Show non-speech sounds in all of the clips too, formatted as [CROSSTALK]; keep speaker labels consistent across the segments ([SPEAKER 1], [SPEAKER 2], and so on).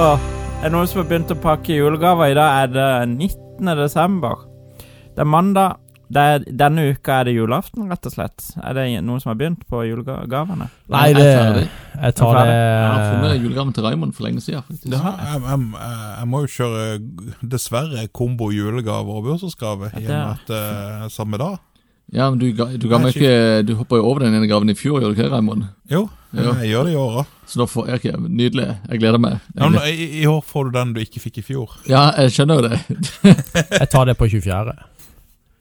[SPEAKER 1] Åh, er det noen som har begynt å pakke julegaver? I dag er det 19. desember. Det er mandag. Det er, denne uka er det julaften, rett og slett. Er det noen som har begynt på julegavene?
[SPEAKER 2] Nei,
[SPEAKER 3] Jeg tar
[SPEAKER 2] det
[SPEAKER 3] det.
[SPEAKER 2] Jeg tar det
[SPEAKER 3] Jeg har funnet julegaven til Raymond for lenge siden, faktisk.
[SPEAKER 4] Det her, jeg, jeg, jeg, jeg må jo kjøre dessverre kombo julegaver og bursdagsgave i og med at eh, samme dag.
[SPEAKER 3] Ja, men du, ga- du ga meg ikke Du hoppa jo over den ene gaven i fjor, gjorde du ikke, Raymond?
[SPEAKER 4] Jo,
[SPEAKER 3] Ja.
[SPEAKER 4] jeg gjør det i år òg.
[SPEAKER 3] Så da får jeg ikke Nydelig. Jeg gleder meg.
[SPEAKER 4] Ja, men i, I år får du den du ikke fikk i fjor.
[SPEAKER 3] Ja, jeg skjønner jo det.
[SPEAKER 2] Jeg tar det på 24.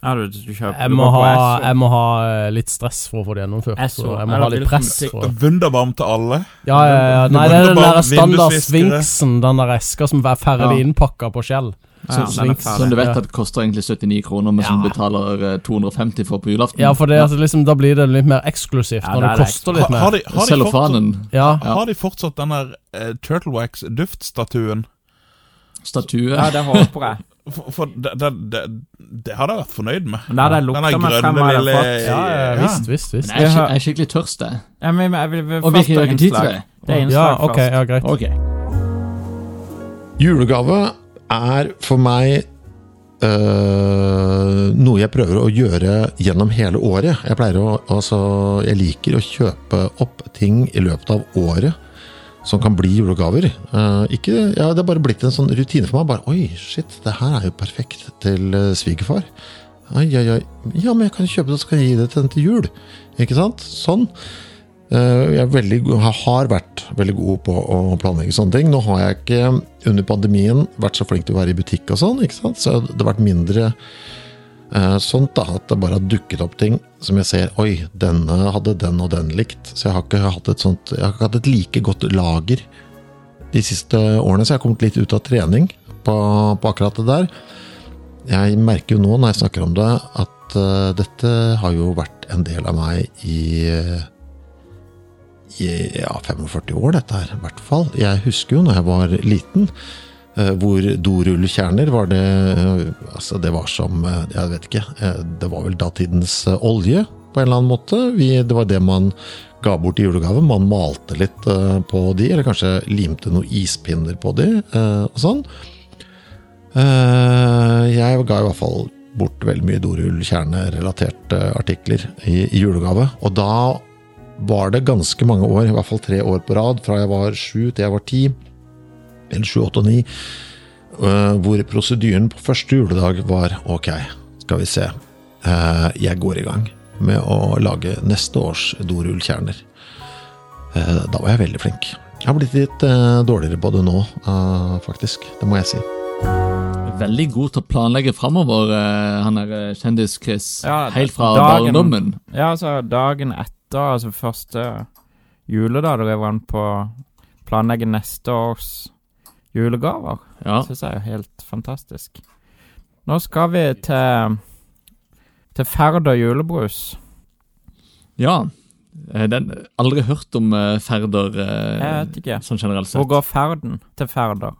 [SPEAKER 1] Ja, du, du kjøper
[SPEAKER 2] Jeg
[SPEAKER 1] du
[SPEAKER 2] må,
[SPEAKER 1] går på
[SPEAKER 2] ha,
[SPEAKER 5] altså.
[SPEAKER 1] SO.
[SPEAKER 2] jeg må ha eh, litt stress for å få det gjennomført.
[SPEAKER 1] Jeg så-
[SPEAKER 2] Så jeg må
[SPEAKER 1] er
[SPEAKER 2] ha
[SPEAKER 1] det
[SPEAKER 2] litt press.
[SPEAKER 1] liksom-
[SPEAKER 2] For,
[SPEAKER 4] Wunderbarm til alle.
[SPEAKER 2] ja, ja, ja. Nei, det er den der standard
[SPEAKER 4] Vindusviskere.
[SPEAKER 2] svinksen. Den der eska som er ferdig
[SPEAKER 3] Ja.
[SPEAKER 2] innpakka på skjell.
[SPEAKER 1] Ja,
[SPEAKER 3] Som-
[SPEAKER 1] den er
[SPEAKER 3] Som
[SPEAKER 1] ferdig.
[SPEAKER 3] du vet at det koster egentlig 79 kroner, men som du
[SPEAKER 2] Ja.
[SPEAKER 3] betaler eh, 250 for på julaften.
[SPEAKER 2] Ja, for det, at det liksom, da blir det litt mer eksklusivt
[SPEAKER 1] Ja, det
[SPEAKER 2] når det
[SPEAKER 1] er det
[SPEAKER 2] koster
[SPEAKER 4] Ha,
[SPEAKER 2] litt mer.
[SPEAKER 4] har, de, har, de fortsatt,
[SPEAKER 3] Cellofanen,
[SPEAKER 2] Ja,
[SPEAKER 4] har de fortsatt den der eh, Turtle Wax-duftstatuen?
[SPEAKER 3] statue
[SPEAKER 1] Ja, det håper jeg.
[SPEAKER 4] For, for det, det, det, det hadde jeg vært fornøyd med.
[SPEAKER 1] Men da hadde jeg lukta
[SPEAKER 4] Den der
[SPEAKER 1] meg frem,
[SPEAKER 4] grønne
[SPEAKER 1] hadde jeg
[SPEAKER 4] lille-
[SPEAKER 1] fått.
[SPEAKER 2] ja, ja, visst, visst. visst.
[SPEAKER 3] Men jeg
[SPEAKER 1] Jeg
[SPEAKER 3] er,
[SPEAKER 1] har-
[SPEAKER 3] skik- jeg er skikkelig tørst, jeg.
[SPEAKER 1] Ja, men jeg vil, vil
[SPEAKER 3] Og vi
[SPEAKER 1] først
[SPEAKER 3] har
[SPEAKER 1] ha
[SPEAKER 3] ikke tid til
[SPEAKER 1] innslag.
[SPEAKER 3] det.
[SPEAKER 1] Det er
[SPEAKER 2] Ja,
[SPEAKER 1] innslag
[SPEAKER 2] ok,
[SPEAKER 1] først.
[SPEAKER 2] ja, greit.
[SPEAKER 3] Ok.
[SPEAKER 6] Julegave er for meg øh, noe jeg prøver å gjøre gjennom hele året. Jeg pleier å altså, Jeg liker å kjøpe opp ting i løpet av året som kan bli julegaver. Eh, ikke, ja, det har bare blitt en sånn rutine for meg. Bare, Oi, shit, det her er jo perfekt til eh, svigerfar. Oi, oi, oi. Ja, men jeg kan kjøpe det, så kan jeg gi det til den til jul. Ikke sant? Sånn. Eh, Jeg er veldig, go- har vært veldig god på å planlegge sånne ting. Nå har jeg ikke under pandemien vært så flink til å være i butikk og sånn, ikke sant? så det har vært mindre eh, sånt da, at det bare har dukket opp ting som jeg ser Oi, denne hadde den og den likt. Så jeg har ikke hatt et, sånt, jeg har ikke hatt et like godt lager de siste årene, så jeg har kommet litt ut av trening på, på akkurat det der. Jeg merker jo nå når jeg snakker om det, at eh, dette har jo vært en del av meg i eh, i- ja, 45 år, dette her, i hvert fall. Jeg husker jo når jeg var liten, eh, hvor dorullkjerner var det eh, Altså, det var som eh, Jeg vet ikke. eh, Det var vel datidens eh, olje, på en eller annen måte. Vi, det var det man ga bort i julegave. Man malte litt eh, på de, eller kanskje limte noen ispinner på de, eh, og sånn. Eh, Jeg ga i hvert fall bort veldig mye dorullkjernerelaterte artikler i, i julegave, og da var det ganske mange år, i hvert fall tre år på rad, fra jeg var sju til jeg var ti, eller sju, åtte og ni, øh, hvor prosedyren på første juledag var ok, skal vi se, eh, jeg går i gang med å lage neste års dorullkjerner. Eh, Da var jeg veldig flink. Jeg har blitt litt eh, dårligere på det nå, eh, faktisk. Det må jeg si.
[SPEAKER 3] Veldig god til å planlegge framover, han er eh, kjendis-Chris.
[SPEAKER 1] Ja,
[SPEAKER 3] Helt fra
[SPEAKER 1] dagen-
[SPEAKER 3] barndommen.
[SPEAKER 1] Ja, altså, dagen etter, altså første juledag, da driver han på å planlegge neste års julegaver.
[SPEAKER 3] Ja.
[SPEAKER 1] Det syns jeg er jo helt fantastisk. Nå skal vi til til Færder julebrus.
[SPEAKER 3] ja. Eh, Den aldri hørt om eh, Færder eh,
[SPEAKER 1] Jeg vet ikke.
[SPEAKER 3] sånn generelt
[SPEAKER 1] Hvor
[SPEAKER 3] sett.
[SPEAKER 1] går ferden til Færder?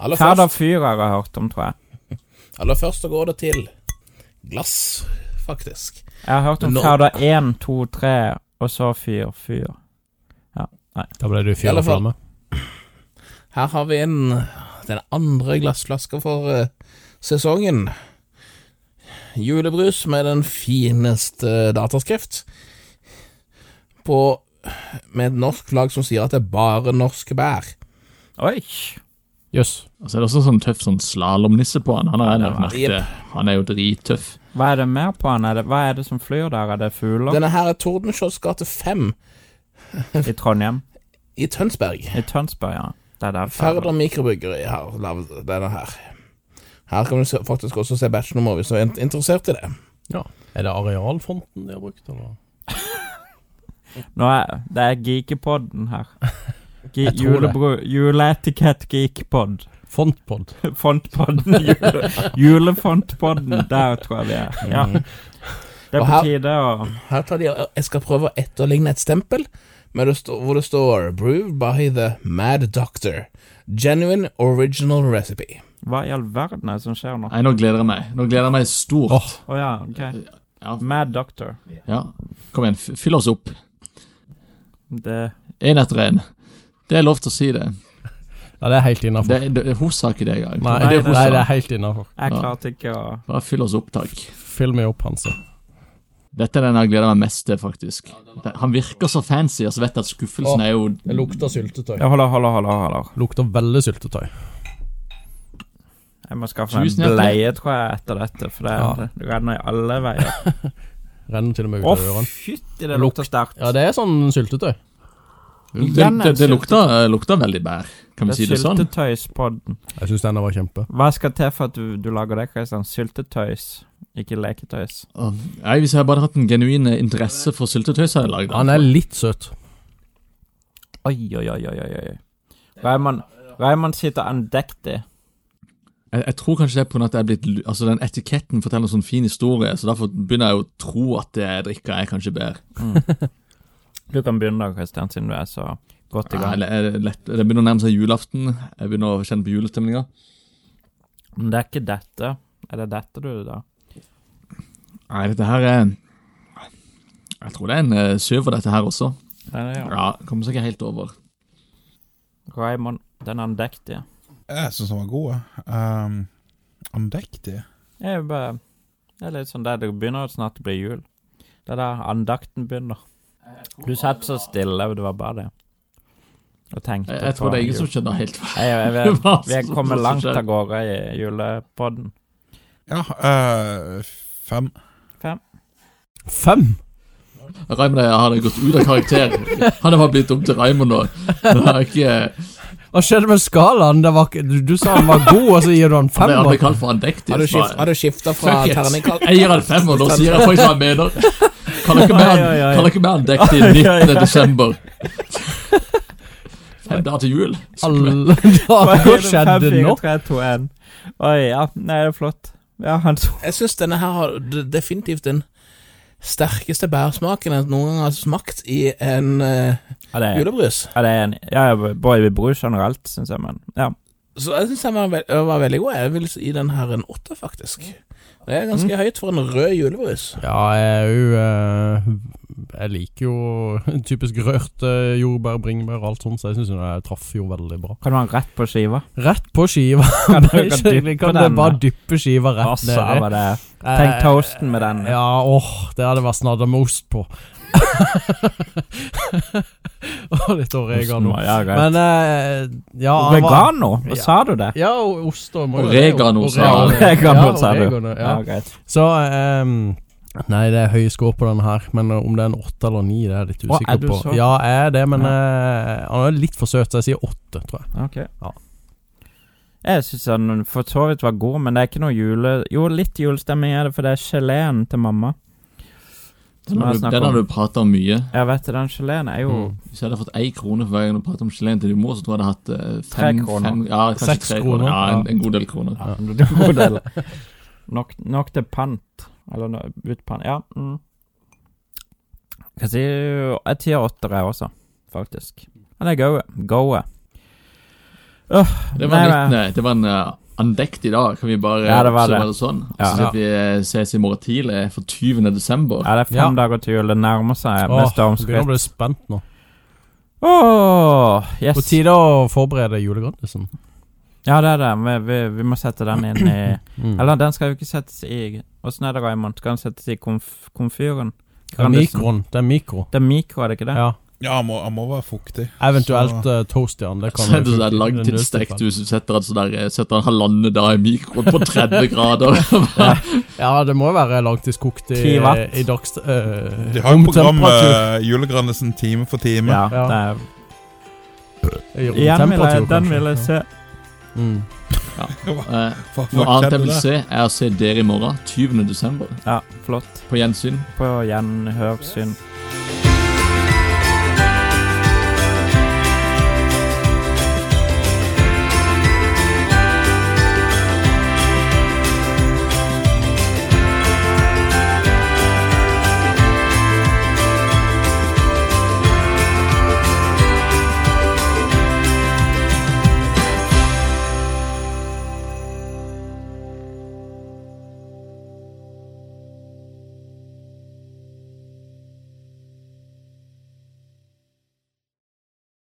[SPEAKER 5] Aller
[SPEAKER 1] Færder
[SPEAKER 5] først,
[SPEAKER 1] fyr har jeg hørt om, tror jeg.
[SPEAKER 5] aller først så går det til glass, faktisk.
[SPEAKER 1] Jeg har hørt om
[SPEAKER 5] Nå-
[SPEAKER 1] Færder 1, 2, 3, og så fyr, fyr.
[SPEAKER 2] Da ble du
[SPEAKER 5] I
[SPEAKER 2] fyr
[SPEAKER 5] alle
[SPEAKER 2] og
[SPEAKER 5] fall.
[SPEAKER 2] flamme.
[SPEAKER 5] Her har vi en, den andre glassflaska for eh, sesongen. Julebrus med den fineste eh, dataskrift. På, med et norsk flagg som sier at det er bare norske bær.
[SPEAKER 1] Oi!
[SPEAKER 2] Jøss.
[SPEAKER 3] Og så er det også sånn tøff sånn slalåmnisse på han. Han er, jeg merket det.
[SPEAKER 5] Jep.
[SPEAKER 3] han er jo drittøff.
[SPEAKER 1] Hva er det mer på den? Er det, hva er det som flyr der? Er det fugler
[SPEAKER 5] Denne her er Tordenskiolds gate 5
[SPEAKER 1] i Trondheim?
[SPEAKER 5] i Tønsberg.
[SPEAKER 1] I Tønsberg, ja. Det er der
[SPEAKER 5] Færder
[SPEAKER 1] Færder
[SPEAKER 5] mikrobryggeri har lagd denne her. Her kan du se- faktisk også se batchnummer hvis du er in- interessert i det.
[SPEAKER 2] Er det arealfonten de har brukt, eller?
[SPEAKER 1] Nå er det er geekepodden her. Ge
[SPEAKER 2] Jeg tror det.
[SPEAKER 1] julebru- Juleetikett geekpod.
[SPEAKER 2] Fontpod.
[SPEAKER 1] Fontpodden. [LAUGHS] Jule Julefontpodden. Der tror jeg vi er.
[SPEAKER 3] Mm.
[SPEAKER 1] Ja. Det er
[SPEAKER 5] Og
[SPEAKER 1] på
[SPEAKER 5] her-
[SPEAKER 1] tide å
[SPEAKER 5] Mm. Her tar de Jeg skal prøve å etterligne et stempel men det står, hvor det står 'Brewed by the Mad Doctor'. Genuine original recipe.
[SPEAKER 1] Hva i all verden er det som skjer nå? Å
[SPEAKER 3] Nei, nå gleder jeg meg. Nå gleder jeg meg stort.
[SPEAKER 2] Åh.
[SPEAKER 1] ja, ok.
[SPEAKER 3] Ja.
[SPEAKER 1] Mad Doctor.
[SPEAKER 3] Ja. Kom igjen, f- fyll oss opp.
[SPEAKER 1] Det
[SPEAKER 3] Én etter én. Det er lov til å si det.
[SPEAKER 2] Ja, det er helt innafor.
[SPEAKER 3] Det, det, hun sa ikke det engang.
[SPEAKER 2] Nei,
[SPEAKER 1] Nei,
[SPEAKER 2] det,
[SPEAKER 1] det-
[SPEAKER 2] nei, det er helt innafor.
[SPEAKER 1] Jeg
[SPEAKER 3] Ja.
[SPEAKER 1] klarte ikke å
[SPEAKER 3] Bare fyll oss opp, takk.
[SPEAKER 2] Fyll meg opp, Hanse.
[SPEAKER 3] Dette er den jeg gleder meg mest til, faktisk. Det- Han virker så fancy, og så vet jeg at skuffelsen
[SPEAKER 5] Å.
[SPEAKER 3] er jo
[SPEAKER 5] Det lukter syltetøy.
[SPEAKER 1] Jeg holder, holder, holder. holder.
[SPEAKER 2] Lukter veldig syltetøy.
[SPEAKER 1] Jeg må skaffe meg
[SPEAKER 3] Tusen
[SPEAKER 1] en
[SPEAKER 3] hjertelig.
[SPEAKER 1] bleie, tror jeg, etter dette. For det,
[SPEAKER 2] Ja.
[SPEAKER 1] det det renner i alle veier.
[SPEAKER 2] Renner til og med ut
[SPEAKER 1] Å,
[SPEAKER 2] av ørene.
[SPEAKER 1] fytti, det lukter sterkt.
[SPEAKER 2] Ja, det er sånn syltetøy.
[SPEAKER 3] Det,
[SPEAKER 1] Igjen er
[SPEAKER 3] det, det
[SPEAKER 1] sylte-
[SPEAKER 3] lukter, lukter veldig bær, kan vi
[SPEAKER 1] Det
[SPEAKER 3] si
[SPEAKER 1] er
[SPEAKER 3] det sånn?
[SPEAKER 1] syltetøyspodden.
[SPEAKER 2] Jeg syns denne var kjempe.
[SPEAKER 1] Hva skal til for at du, du lager det, Kristian? Syltetøys, ikke leketøys.
[SPEAKER 3] Nei, Hvis jeg hadde bare hatt en genuin interesse for syltetøy, så hadde jeg lagd
[SPEAKER 2] Han er litt søt.
[SPEAKER 1] Oi, oi, oi, oi, oi. oi. Raymond, Raymond sitter andektig.
[SPEAKER 3] Jeg, jeg tror kanskje det er på grunn av at jeg er blitt, lu- altså den etiketten forteller en sånn fin historie, så derfor begynner jeg å tro at det jeg drikker er kanskje bedre.
[SPEAKER 1] Du kan begynne da, Kristian, siden du er så godt i
[SPEAKER 3] Nei,
[SPEAKER 1] gang.
[SPEAKER 3] det, er lett, det begynner å nærme seg julaften, jeg begynner å kjenne på julestemninga.
[SPEAKER 1] Men det er ikke dette. Er det dette du da?
[SPEAKER 3] Nei, dette her er Jeg tror det er en eh, syver, dette her også.
[SPEAKER 1] Det er det, ja.
[SPEAKER 3] Ja, Kommer seg ikke helt over.
[SPEAKER 1] Raymond, den andektige.
[SPEAKER 4] Jeg syns den var god. Um, andektig.
[SPEAKER 1] Det er jo bare Det er litt sånn der det begynner snart å bli jul. Det er der andakten begynner. Du satt så stille, og det var bare det. Og tenkte
[SPEAKER 3] Jeg, jeg tror det er ingen som
[SPEAKER 1] jul.
[SPEAKER 3] skjønner helt hva
[SPEAKER 1] jeg, jeg,
[SPEAKER 3] det [LAUGHS]
[SPEAKER 1] vi,
[SPEAKER 3] var
[SPEAKER 1] vi er
[SPEAKER 3] som-
[SPEAKER 1] kommet
[SPEAKER 3] som
[SPEAKER 1] langt
[SPEAKER 3] skjedde.
[SPEAKER 1] av gårde i julepodden.
[SPEAKER 4] Ja, eh, fem.
[SPEAKER 2] Fem!
[SPEAKER 3] Raymond jeg hadde gått ut av karakter. Han har blitt om til Raymond [LAUGHS] nå. Det er ikke,
[SPEAKER 2] Hva skjedde med skalaen? Det var, ikke- du, du sa han var god, og så gir du han
[SPEAKER 3] han
[SPEAKER 2] fem.
[SPEAKER 3] er- han blir
[SPEAKER 2] og-
[SPEAKER 3] kalt for andektig.
[SPEAKER 5] Har du
[SPEAKER 3] så-
[SPEAKER 5] skift- har du skifta fra
[SPEAKER 3] Fuck it.
[SPEAKER 5] terningkast
[SPEAKER 3] Jeg gir han fem, og da sier jeg faktisk hva jeg mener. Kan dere mer
[SPEAKER 1] Oi, oi, oi.
[SPEAKER 3] kan dere mer dekket i 19. desember? Fem dager til jul.
[SPEAKER 2] Alle [LAUGHS] dager hva skjedde nå?
[SPEAKER 1] 3, 2, 1. Oi, ja. Nei, det er flott. Ja, han så
[SPEAKER 5] Jeg syns denne her har d- definitivt den sterkeste bærsmaken jeg noen gang har smakt i en eh,
[SPEAKER 1] Ja, det er,
[SPEAKER 5] julebrus.
[SPEAKER 1] ja, det er en Ja, jeg- bare i brus generelt, syns jeg, men Ja.
[SPEAKER 5] Så jeg syns den var, ve var veldig god. Jeg vil gi den her en åtte, faktisk. Det er ganske høyt for en rød julebrus.
[SPEAKER 2] Ja, jeg er jo eh, Jeg liker jo [LAUGHS] typisk rørte jordbær, bringebær og alt sånt, så jeg syns jeg traff jo veldig bra.
[SPEAKER 1] Kan du ha den rett på skiva?
[SPEAKER 2] Rett på skiva.
[SPEAKER 1] Kan du
[SPEAKER 2] [LAUGHS] Kan,
[SPEAKER 1] kan dyppe
[SPEAKER 2] kan
[SPEAKER 1] den?
[SPEAKER 2] du bare dyppe skiva rett
[SPEAKER 1] Altså,
[SPEAKER 2] nedi?
[SPEAKER 1] hva det er.
[SPEAKER 2] Eh,
[SPEAKER 1] Tenk toasten med den.
[SPEAKER 2] Ja, åh, det hadde vært snadda med ost på. [LAUGHS] og litt oregano.
[SPEAKER 1] Ja, greit.
[SPEAKER 2] Men eh, ja han var-
[SPEAKER 1] Oregano? Hva
[SPEAKER 2] Ja.
[SPEAKER 1] sa du det?
[SPEAKER 2] Ja, og ost og må jo-
[SPEAKER 3] Oregano, sa
[SPEAKER 1] Ja,
[SPEAKER 3] Ja, han.
[SPEAKER 1] oregano,
[SPEAKER 2] Ja,
[SPEAKER 1] sa du.
[SPEAKER 2] oregano,
[SPEAKER 1] Ja,
[SPEAKER 2] ja.
[SPEAKER 1] greit.
[SPEAKER 2] Så ehm, Nei, det er høy score på den her, men eh, om det er en åtte eller ni, det er jeg litt
[SPEAKER 1] Å, er
[SPEAKER 2] usikker
[SPEAKER 1] du
[SPEAKER 2] på.
[SPEAKER 1] så-
[SPEAKER 2] Ja, jeg er det, men eh, han er litt for søt, så jeg sier åtte, tror jeg.
[SPEAKER 1] Ok.
[SPEAKER 2] Ja.
[SPEAKER 1] Jeg syns den for så vidt var god, men det er ikke noe jule... Jo, litt julestemning er det, for det er geleen til mamma.
[SPEAKER 3] Den har
[SPEAKER 1] jeg
[SPEAKER 3] du-
[SPEAKER 1] snakker
[SPEAKER 3] den har
[SPEAKER 1] om.
[SPEAKER 3] du prata om mye.
[SPEAKER 1] Jeg vet det, den geleen er jo
[SPEAKER 2] Mm.
[SPEAKER 3] Hvis jeg hadde fått én krone for hver gang du pratet om geleen til din mor, så tror jeg jeg hadde hatt eh, fem,
[SPEAKER 1] Tre kroner.
[SPEAKER 3] fem ja, kanskje
[SPEAKER 2] Seks
[SPEAKER 3] tre kroner.
[SPEAKER 2] kroner,
[SPEAKER 3] Ja, en,
[SPEAKER 2] ja.
[SPEAKER 3] en god del kroner.
[SPEAKER 1] ja, det er en god del. Nok, nok til pant. Eller no, utpant. Ja. Mm. Jeg sier Jeg tier åtter, jeg også, faktisk. Men det er gode. Gode.
[SPEAKER 3] [LAUGHS] Det var
[SPEAKER 1] Nei,
[SPEAKER 3] en,
[SPEAKER 1] nei.
[SPEAKER 3] liten, eh, det var en eh, andekt i dag. Kan vi bare
[SPEAKER 1] Ja, det var det.
[SPEAKER 3] oppsummere det sånn?
[SPEAKER 1] Ja.
[SPEAKER 3] Så vi eh, ses i morgen tidlig for 20. desember.
[SPEAKER 1] Ja, det er fem dager til jul. Det nærmer seg med
[SPEAKER 2] Åh, jeg begynner å
[SPEAKER 1] stormskritt.
[SPEAKER 2] bli spent nå.
[SPEAKER 1] Åh, yes.
[SPEAKER 2] På tide å forberede julegrandisen.
[SPEAKER 1] Ja, det er det. Vi, vi, vi må sette den inn i
[SPEAKER 2] [CLEARS THROAT] Mm.
[SPEAKER 1] Eller, den skal jo ikke settes i Åssen er det, Raymond? Skal den settes i komf komfyren?
[SPEAKER 2] Det er mikroen. Det er mikro.
[SPEAKER 1] Det er mikro, er det ikke det?
[SPEAKER 2] Ja.
[SPEAKER 4] Ja, han må, han må være fuktig.
[SPEAKER 2] Eventuelt eh, toast i den. Det kan
[SPEAKER 3] [LAUGHS] Så er det
[SPEAKER 2] jo
[SPEAKER 3] sånn
[SPEAKER 2] funke.
[SPEAKER 3] langtidsstekt du setter en sånn der, eh, setter en halvannen dag i mikroen på 30
[SPEAKER 2] [LAUGHS]
[SPEAKER 3] grader.
[SPEAKER 2] Ja, det må jo være langtidskokt i,
[SPEAKER 1] 10 watt.
[SPEAKER 2] i dags... eh,
[SPEAKER 4] De har jo programmet
[SPEAKER 2] romtemperatur.
[SPEAKER 4] eh, Julegrandisen time for time.
[SPEAKER 1] Ja,
[SPEAKER 2] Ja.
[SPEAKER 1] det er,
[SPEAKER 2] I
[SPEAKER 1] igjen vil jeg,
[SPEAKER 2] romtemperatur,
[SPEAKER 1] den
[SPEAKER 2] kanskje.
[SPEAKER 1] vil jeg se.
[SPEAKER 2] Ja. Mm.
[SPEAKER 3] Eh,
[SPEAKER 4] Hva,
[SPEAKER 3] Noe
[SPEAKER 4] hva
[SPEAKER 3] annet jeg
[SPEAKER 4] skjedde
[SPEAKER 3] vil
[SPEAKER 4] der?
[SPEAKER 3] se, er å se dere i morgen, 20. desember,
[SPEAKER 1] Ja, flott.
[SPEAKER 3] på gjensyn.
[SPEAKER 1] På gjenhørsyn.